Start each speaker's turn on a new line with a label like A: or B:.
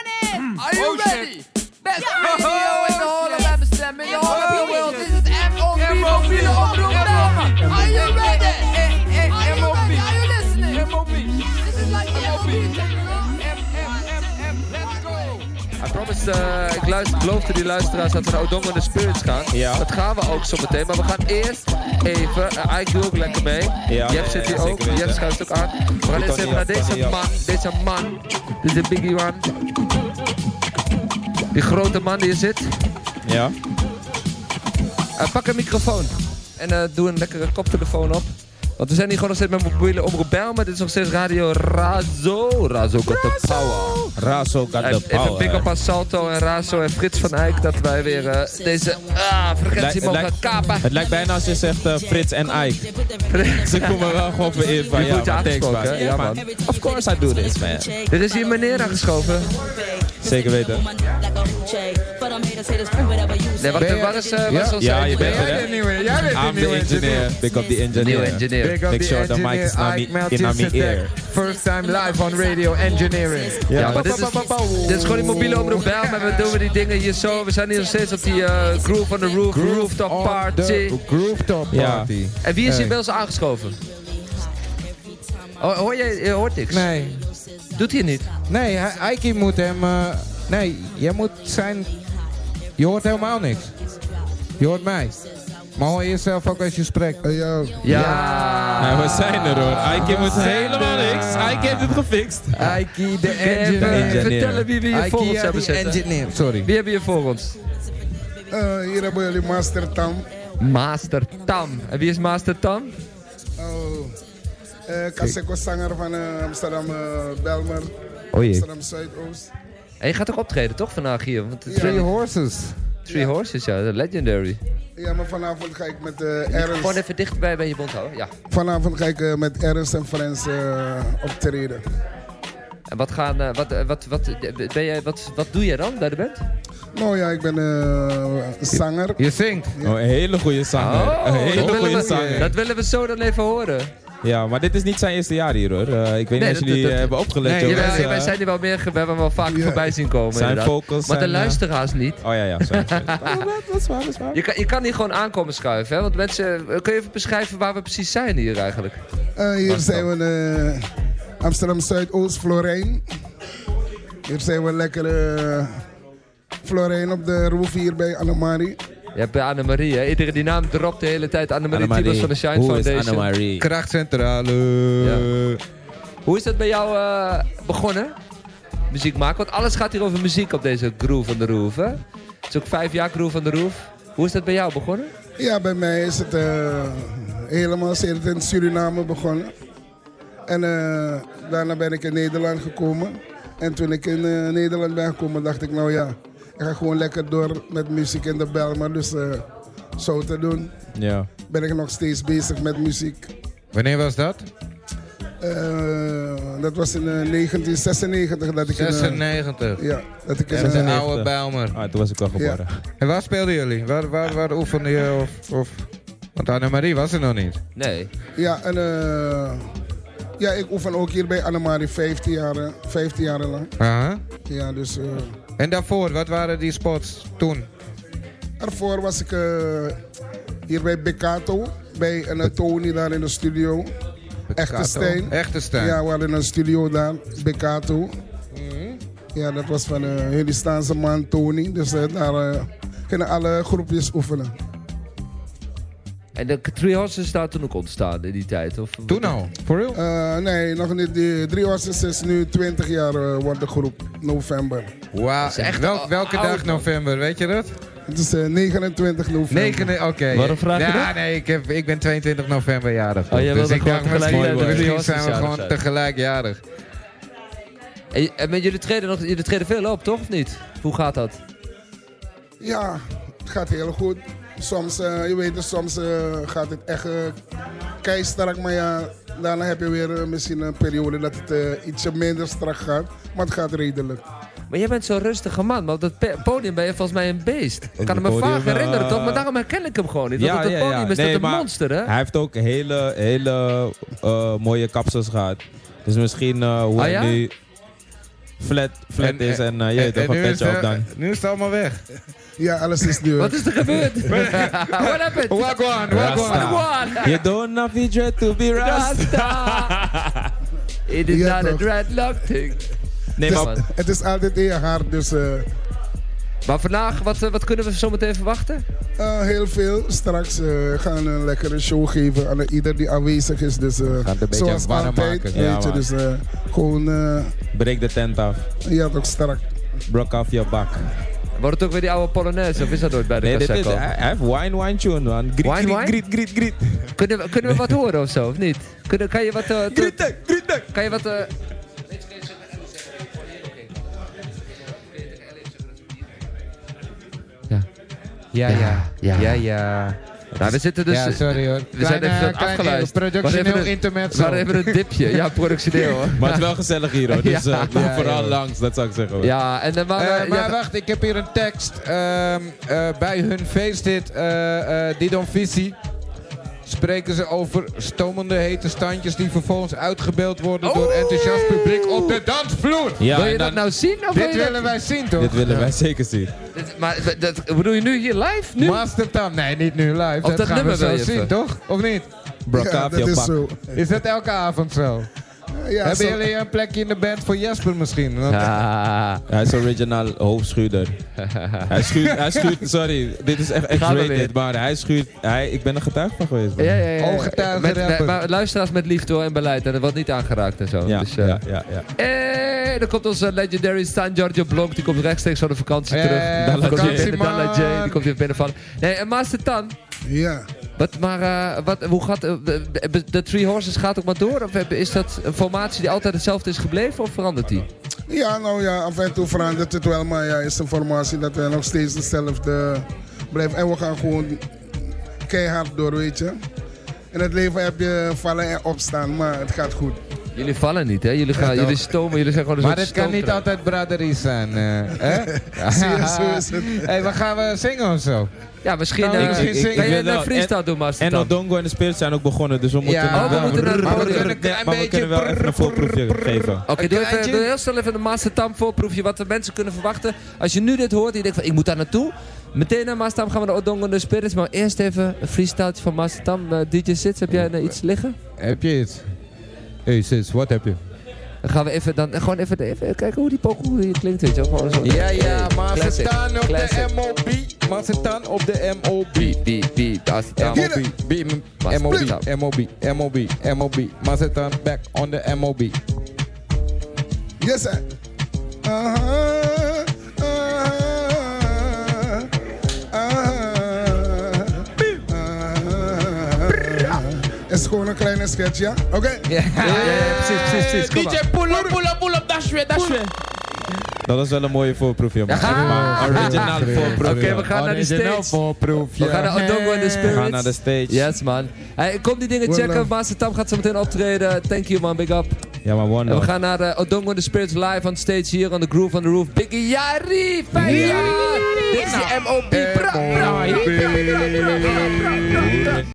A: Are you
B: Oh, shit.
A: ready? Best
B: Ja.
A: radio in de
B: Oh,
A: Holland
B: shit.
A: en bestemming in de hele
B: Oh,
A: wereld.
B: shit.
A: Dit is M.O.B. mobiele omroep België. Are you ready? Are you ready? Are you listening? This is like the M.O.B. Let's go.
C: I promised, eh, ik luister, beloofde die luisteraars dat we naar Odongo in de Spirits gaan.
D: Ja.
C: Dat gaan we ook zo meteen, maar we gaan eerst even... eh, ik doe ook lekker mee.
D: ja,
C: Jep
D: ja,
C: zit hier
D: ja,
C: ook,
D: zeker weten.
C: Jep schuift ook aan. We gaan eerst
D: niet
C: even naar
D: af, kan niet
C: deze
D: af.
C: man, deze man. Dit is de biggie man. Die grote man die hier zit.
D: Ja.
C: Eh, pak een microfoon en eh, doe een lekkere koptelefoon op. Want we zijn hier gewoon nog steeds met mobiele omroep Bijlmer. Dit is nog steeds radio Razo. Razo got the power.
D: Razo got the
C: Even- Even
D: power.
C: big up aan Salto en Razo en Frits van Eyck dat wij weer eh, deze ah, frequentie
D: Lijkt-
C: mogen
D: lijkt-
C: kapen.
D: Het lijkt bijna als je zegt eh, Frits en Ike. Ze komen wel gewoon voor in van
C: Je
D: ja,
C: voelt je
D: maar thanks
C: aangesproken,
D: man.
C: hè?
D: Ja
C: Ja,
D: man.
C: man.
D: Of course I do this man.
C: Er is hier een meneer aangeschoven.
D: Zeker weten.
C: Nee, wat,
B: Ben je-
C: wat is, eh, wat
B: Ja.
C: is ons
D: Ja,
C: eigen-
D: je bent
B: Jij
D: er, hè?
B: bent de nieuwe, jij bent de
D: I'm the
B: nieuwe
D: engineer. Pick up the
C: Nieuwe
D: engineer.
C: engineer.
B: Big up
D: Make
B: the
D: sure the mic is
B: engineer
D: not
B: Ike
D: me- in my
B: Melchizedek.
D: ear.
B: First time live on radio engineering.
C: Ja, maar
B: Pa,
C: dit
B: pa,
C: is,
B: pa, pa, pa.
C: dit is gewoon die mobiele omroep Bijl, maar we doen we die dingen hier zo. We zijn hier nog steeds op die eh, Groove on the Roof, Rooftop
B: on
C: Party.
B: the Rooftop
D: Ja.
B: party.
C: En wie is hier
B: Hey.
C: bij ons aangeschoven? Oh, hoor jij, je hoort niks?
B: Nee,
C: Doet hij niet?
B: nee, hij- Ike moet hem... eh, nee, jij moet zijn... Je hoort helemaal niks. Je hoort mij. Maar hoor jezelf ook als je spreekt.
C: Ja.
D: Ja, Ah, we zijn er hoor. Ike moet helemaal niks. Ike heeft het gefixt.
B: Ike de
C: Even
B: engineer.
C: vertellen wie we hier voor ons
B: Ike
C: hebben
B: de
C: zitten.
B: engineer. Sorry.
C: Wie hebben hier voor ons?
E: Eh, hier hebben jullie Master Tam.
C: Master Tam. En wie is Master Tam?
E: Oh, eh, Kaseko zanger van eh, Amsterdam eh, Belmer.
C: Oh
E: Amsterdam Zuidoost.
C: En je gaat ook optreden toch vandaag hier? Want de
E: Ja.
B: Three
C: Three,
B: horses.
C: Three Horses, ja, dat is legendary.
E: Ja, maar vanavond ga ik met eh,
C: Gewoon
E: Ernst.
C: even dichtbij bij je mond houden, ja.
E: Vanavond ga ik eh, met Ernst en Frans eh, optreden.
C: En wat gaan, eh, wat, eh, wat, wat, eh, ben jij, wat, wat doe jij dan bij de band?
E: Nou ja, ik ben eh, zanger.
B: Je zingt.
D: Oh, een hele goede zanger. Oh! Een
C: dat,
D: hele
C: willen
D: goede
C: Oh. we, dat
D: zanger.
C: willen we zo dan even horen.
D: Ja, maar dit is niet zijn eerste jaar hier hoor. Eh, ik weet
C: Nee,
D: niet of
C: dat-
D: jullie
C: dat-
D: eh, hebben opgelet.
B: Nee,
D: joh.
C: Jawel,
D: Dus, eh,
C: wij zijn hier wel meer, ge- we hebben hem wel vaker
E: Ja.
C: voorbij zien komen
D: Zijn
C: inderdaad.
D: vocals
C: Maar de
D: zijn, eh,
C: luisteraars niet.
D: Oh ja, ja. sorry, sorry. Oh, Dat is waar, dat is waar.
C: Je kan, je kan hier gewoon aankomen schuiven, hè? Want mensen, eh, kun je even beschrijven waar we precies zijn hier eigenlijk?
E: Eh, hier zijn we eh, Amsterdam Zuidoost, Florijn. Hier zijn we lekker eh, Florijn op de roof hier bij Annemari.
C: Je hebt bij Annemarie, hè? Iedereen die naam dropt de hele tijd. Annemarie, Annemarie. Tibos van de Shine
D: Hoe is
C: Foundation.
D: Annemarie?
B: Krachtcentrale.
C: Hoe is dat bij jou eh, begonnen? Muziek maken? Want alles gaat hier over muziek op deze Groove on the Roof. Hè? Het is ook vijf jaar Groove on the Roof. Hoe is dat bij jou begonnen?
E: Ja, bij mij is het eh, helemaal sinds in Suriname begonnen. En eh, daarna ben ik in Nederland gekomen. En toen ik in eh, Nederland ben gekomen, dacht ik, nou ja, ik ga gewoon lekker door met muziek in de bel. Maar dus eh, zo te doen,
D: Ja.
E: ben ik nog steeds bezig met muziek.
B: Wanneer was dat?
E: Eh, dat was in eh, 1996 dat ik in, eh,
B: 96.
E: ja, dat ik in,
B: Dat is een
E: eh,
B: oude Bijlmer.
D: Ah, toen was ik al geboren.
B: En waar speelden jullie? Waar, waar, waar oefenden je? Of, of... Want Annemarie was er nog niet.
C: Nee.
E: ja, en, eh, ja, ik oefen ook hier bij Annemarie 15 jaar, 15 jaar lang.
B: Aha.
E: Ja, dus... eh,
B: En daarvoor, wat waren die spots toen?
E: Daarvoor was ik eh, hier bij Beccato, bij een Tony daar in de studio. Echte Steen.
B: Echte Stijn.
E: Ja, we hadden een studio daar, Beccato.
B: Mhm.
E: Ja, dat was van eh jullie Staanse man Tony. Dus eh, daar eh, gingen alle groepjes oefenen.
C: En de Three Horses staat toen ook ontstaan in die tijd? Of,
B: Toen al. For real?
E: Eh, nee, nog niet. Die drie horses is nu 20 jaar eh, wordt de groep, november.
B: Wauw.
C: is echt
B: Wel-
C: al-
B: welke
C: oud,
B: dag
C: man.
B: november, weet je dat?
E: Het is eh, 29 november.
B: 9, oké.
D: Waarom vraag je
B: ja, nou,
D: dat?
B: nee, ik, heb, ik ben 22 november jarig.
C: Oh, jij
B: dus
C: wilde
B: ik
C: gewoon
B: dacht misschien,
C: tegelijkertijd
D: met
B: misschien
C: Joostjes
B: zijn we
C: jarig
B: gewoon
C: zijn.
B: tegelijk jarig.
C: En, en met jullie treden, nog, jullie treden veel op, toch? Of niet? Hoe gaat dat?
E: Ja, het gaat heel goed. Soms, eh, je weet het, soms eh, gaat het echt eh keistrak. Maar ja, daarna heb je weer eh, misschien een periode dat het eh, ietsje minder strak gaat. Maar het gaat redelijk.
C: Maar jij bent zo'n rustige man, maar op dat pe- podium ben je volgens mij een beest. Ik
D: Op
C: kan
D: het
C: me vaag
D: podium,
C: herinneren,
D: eh,
C: toch? Maar daarom herken ik hem gewoon niet. Want
D: Ja,
C: op dat
D: ja,
C: podium
D: ja.
C: is
D: Nee,
C: dat een
D: maar-
C: monster, hè?
D: Hij heeft ook hele, hele eh, mooie kapsels gehad. Dus misschien eh hoe
C: Ah,
D: hij
C: ja?
D: nu... flat, flat
B: En-
D: is en eh, je
B: En-
D: weet toch,
B: en
D: een
B: nu, is
D: petje op dan.
B: het, nu is het allemaal weg.
E: Ja, alles is duur.
C: Wat is er gebeurd? What happened?
B: Walk on, walk on.
D: Rasta. You don't have to dread to be rust.
C: Rasta. It is
E: Ja,
C: not a
E: toch.
C: dreadlock thing.
D: Nee,
C: Dus-
D: maar
E: Het is altijd in je hart, dus eh,
C: Maar vandaag, wat, eh, wat kunnen we zo meteen verwachten?
E: eh, heel veel. Straks eh, gaan we een lekkere show geven aan ieder die aanwezig is. Dus eh,
B: het een beetje
E: zoals
B: warm
E: altijd,
B: maken.
E: weet
D: Ja,
E: je.
D: man.
E: Dus eh, gewoon, eh,
D: breek de tent af.
E: ja toch strak.
D: Brok af je bak.
C: Wordt het ook weer die oude Polonaise of is dat nooit bij de
D: Nee, dit is,
C: Casseco?
D: hij hij heeft wine, wine tune, man. Griet,
C: Wine,
D: griet,
C: wine?
D: griet, griet, griet.
C: Kunnen, we- kunnen we wat horen of zo, of niet? Kunnen, kan je wat... eh, te-
D: Grieten, grieten.
C: kan je wat... eh, Ja. Ja, ja. Ja, ja. Nou, we zitten dus...
B: ja, sorry hoor.
C: We zijn even dat afgeluisterd. We
B: Productioneel
C: hadden even dus- een- We
B: intermezzo.
C: hadden even een dipje. Ja, productioneel hoor.
D: Maar het is wel gezellig hier, hoor. Dus eh, kom
B: Ja,
D: vooral
B: joh.
D: langs, dat zou ik zeggen. hoor.
C: Ja, en dan
B: Eh,
C: waren...
B: maar wacht, ik heb hier een tekst. Ehm, eh, bij hun feestdit eh eh Didon Visie spreken ze over stomende hete standjes die vervolgens uitgebeeld worden door
C: Oeh.
B: enthousiast publiek op de dansvloer.
D: Ja,
C: wil
D: en
C: je dat
D: dan-
C: nou zien? Of wil
B: Dit
C: je dat-
B: willen wij zien toch?
D: Dit willen wij zeker zien.
C: Dit- maar dat- dat, bedoel je nu hier live? Nu?
B: Mastertam. Nee, niet nu live.
C: dat
B: gaan
C: nummer
B: we zo
C: wil je
B: zien,
C: even.
B: toch? Of niet?
D: Brok
E: Ja,
D: af
E: dat
D: je
E: is
D: bak.
E: zo.
B: Is dat elke avond zo?
E: Ja,
B: Hebben
E: zo-
B: jullie een plekje in de band voor Jasper misschien? Want-
C: Ah,
D: Hij is original hoofdschuurder. hij, schuurt, hij schuurt, sorry, dit is echt
C: Gaan we
D: X-rated,
C: weer.
D: maar hij schuurt, hij, ik ben er getuige van geweest.
C: ja,
D: man.
C: ja, ja. ja.
B: Ooggetuigen
C: Met- met-
B: rapper.
C: Maar luisteraars met liefde hoor en beleid. En dat wordt niet aangeraakt en zo.
D: ja,
C: dus, eh,
D: ja, ja, ja.
C: eh, dan komt onze legendary San Giorgio Blonk. Die komt rechtstreeks van de vakantie
B: Eh,
C: terug.
D: Dalla
C: komt hier
B: vakantieman.
C: binnen, Dalla J, die komt hier binnenvallen. Nee, en Master Tan.
E: Ja.
C: Wat, maar eh, wat, hoe gaat... eh, de- de- de Three Horses gaat ook maar door? Of heb- is dat een formatie die altijd hetzelfde is gebleven? Of verandert die?
E: ja, nou ja, af en toe verandert het wel, maar ja, is een formatie dat wij nog steeds hetzelfde blijven. En we gaan gewoon keihard door, weet je. In het leven heb je vallen en opstaan, maar het gaat goed.
C: Jullie vallen niet, hè? Jullie, gaan,
E: Ja,
C: jullie
E: toch.
C: stomen, jullie zijn gewoon een
B: Maar
C: soort
B: dit kan niet
C: stoomkraam.
B: altijd braderie zijn. eh, hè?
E: Zie je, zo is het.
B: hey, wat gaan we zingen of zo?
C: Ja, misschien...
B: Nou,
C: eh,
B: ik- ik- ik-
C: kan
D: ik
C: jij
D: wil
C: een
D: wel-
C: freestyle doen, Master
D: En
C: Tan?
D: Odongo en de Spirits zijn ook begonnen, dus we moeten...
B: Ja,
D: het
B: oh, we
D: wel-
C: moeten naar-
D: maar
C: we
D: we
C: kunnen
B: een
D: kunnen-
B: klein
D: maar we kunnen wel
B: beetje-
D: even een voorproefje geven.
C: Oké, doe, even-
B: kleintje?
C: doe heel snel even de Mastertam voorproefje wat de mensen kunnen verwachten. Als je nu dit hoort en je denkt van ik moet daar naartoe. Meteen naar Mastertam gaan we naar Odongo de Spirits. Maar eerst even een freestyle van Mastertam. Eh, DJ Sits, heb jij eh, iets liggen?
B: Heb je iets? Hey sis, wat heb je?
C: Dan gaan we even, dan, eh, gewoon even, even kijken hoe die pokoe hier klinkt. Weet je, wel. gewoon zo.
B: Ja, ja, maar ze
C: Classic,
B: staan op de
C: classic.
B: MOB. Maar ze staan op de MOB.
C: Beep, beep, beep, Mastertam.
B: MOB, beep,
C: Maar
B: MOB,
C: split.
B: MOB, MOB, MOB. Maar ze staan back on the MOB.
E: Yes, sir. Uh-huh, uh-huh, uh-huh, uh-huh. Is gewoon een kleine sketch, ja? Oké.
C: Ja, ja, ja, precies, precies, precies. Kom maar.
D: pull up, pull up, pull up, dash weer, dash weer. Dat was wel een mooie voorproefje, man.
C: Ja.
D: Echt, man. Original voorproefje.
C: Oké, we gaan naar die
B: Original
D: nou
C: stage.
B: voorproefje.
C: We gaan naar Odongo en de
D: We
C: Spirits.
D: gaan naar de stage.
C: Yes, man. Hey, kom die dingen
E: One
C: checken.
E: love.
C: Master Tam gaat zo meteen optreden. Thank you, man. Big up.
D: Ja, maar one
C: En we
D: love.
C: gaan naar eh, oh, de Odongo and the Spirits live on stage hier on the Groove on the Roof. Biggie Yari, vijf jaar! Dit is de M.O.B. Bra, bra, bra, bra, bra, bra, bra.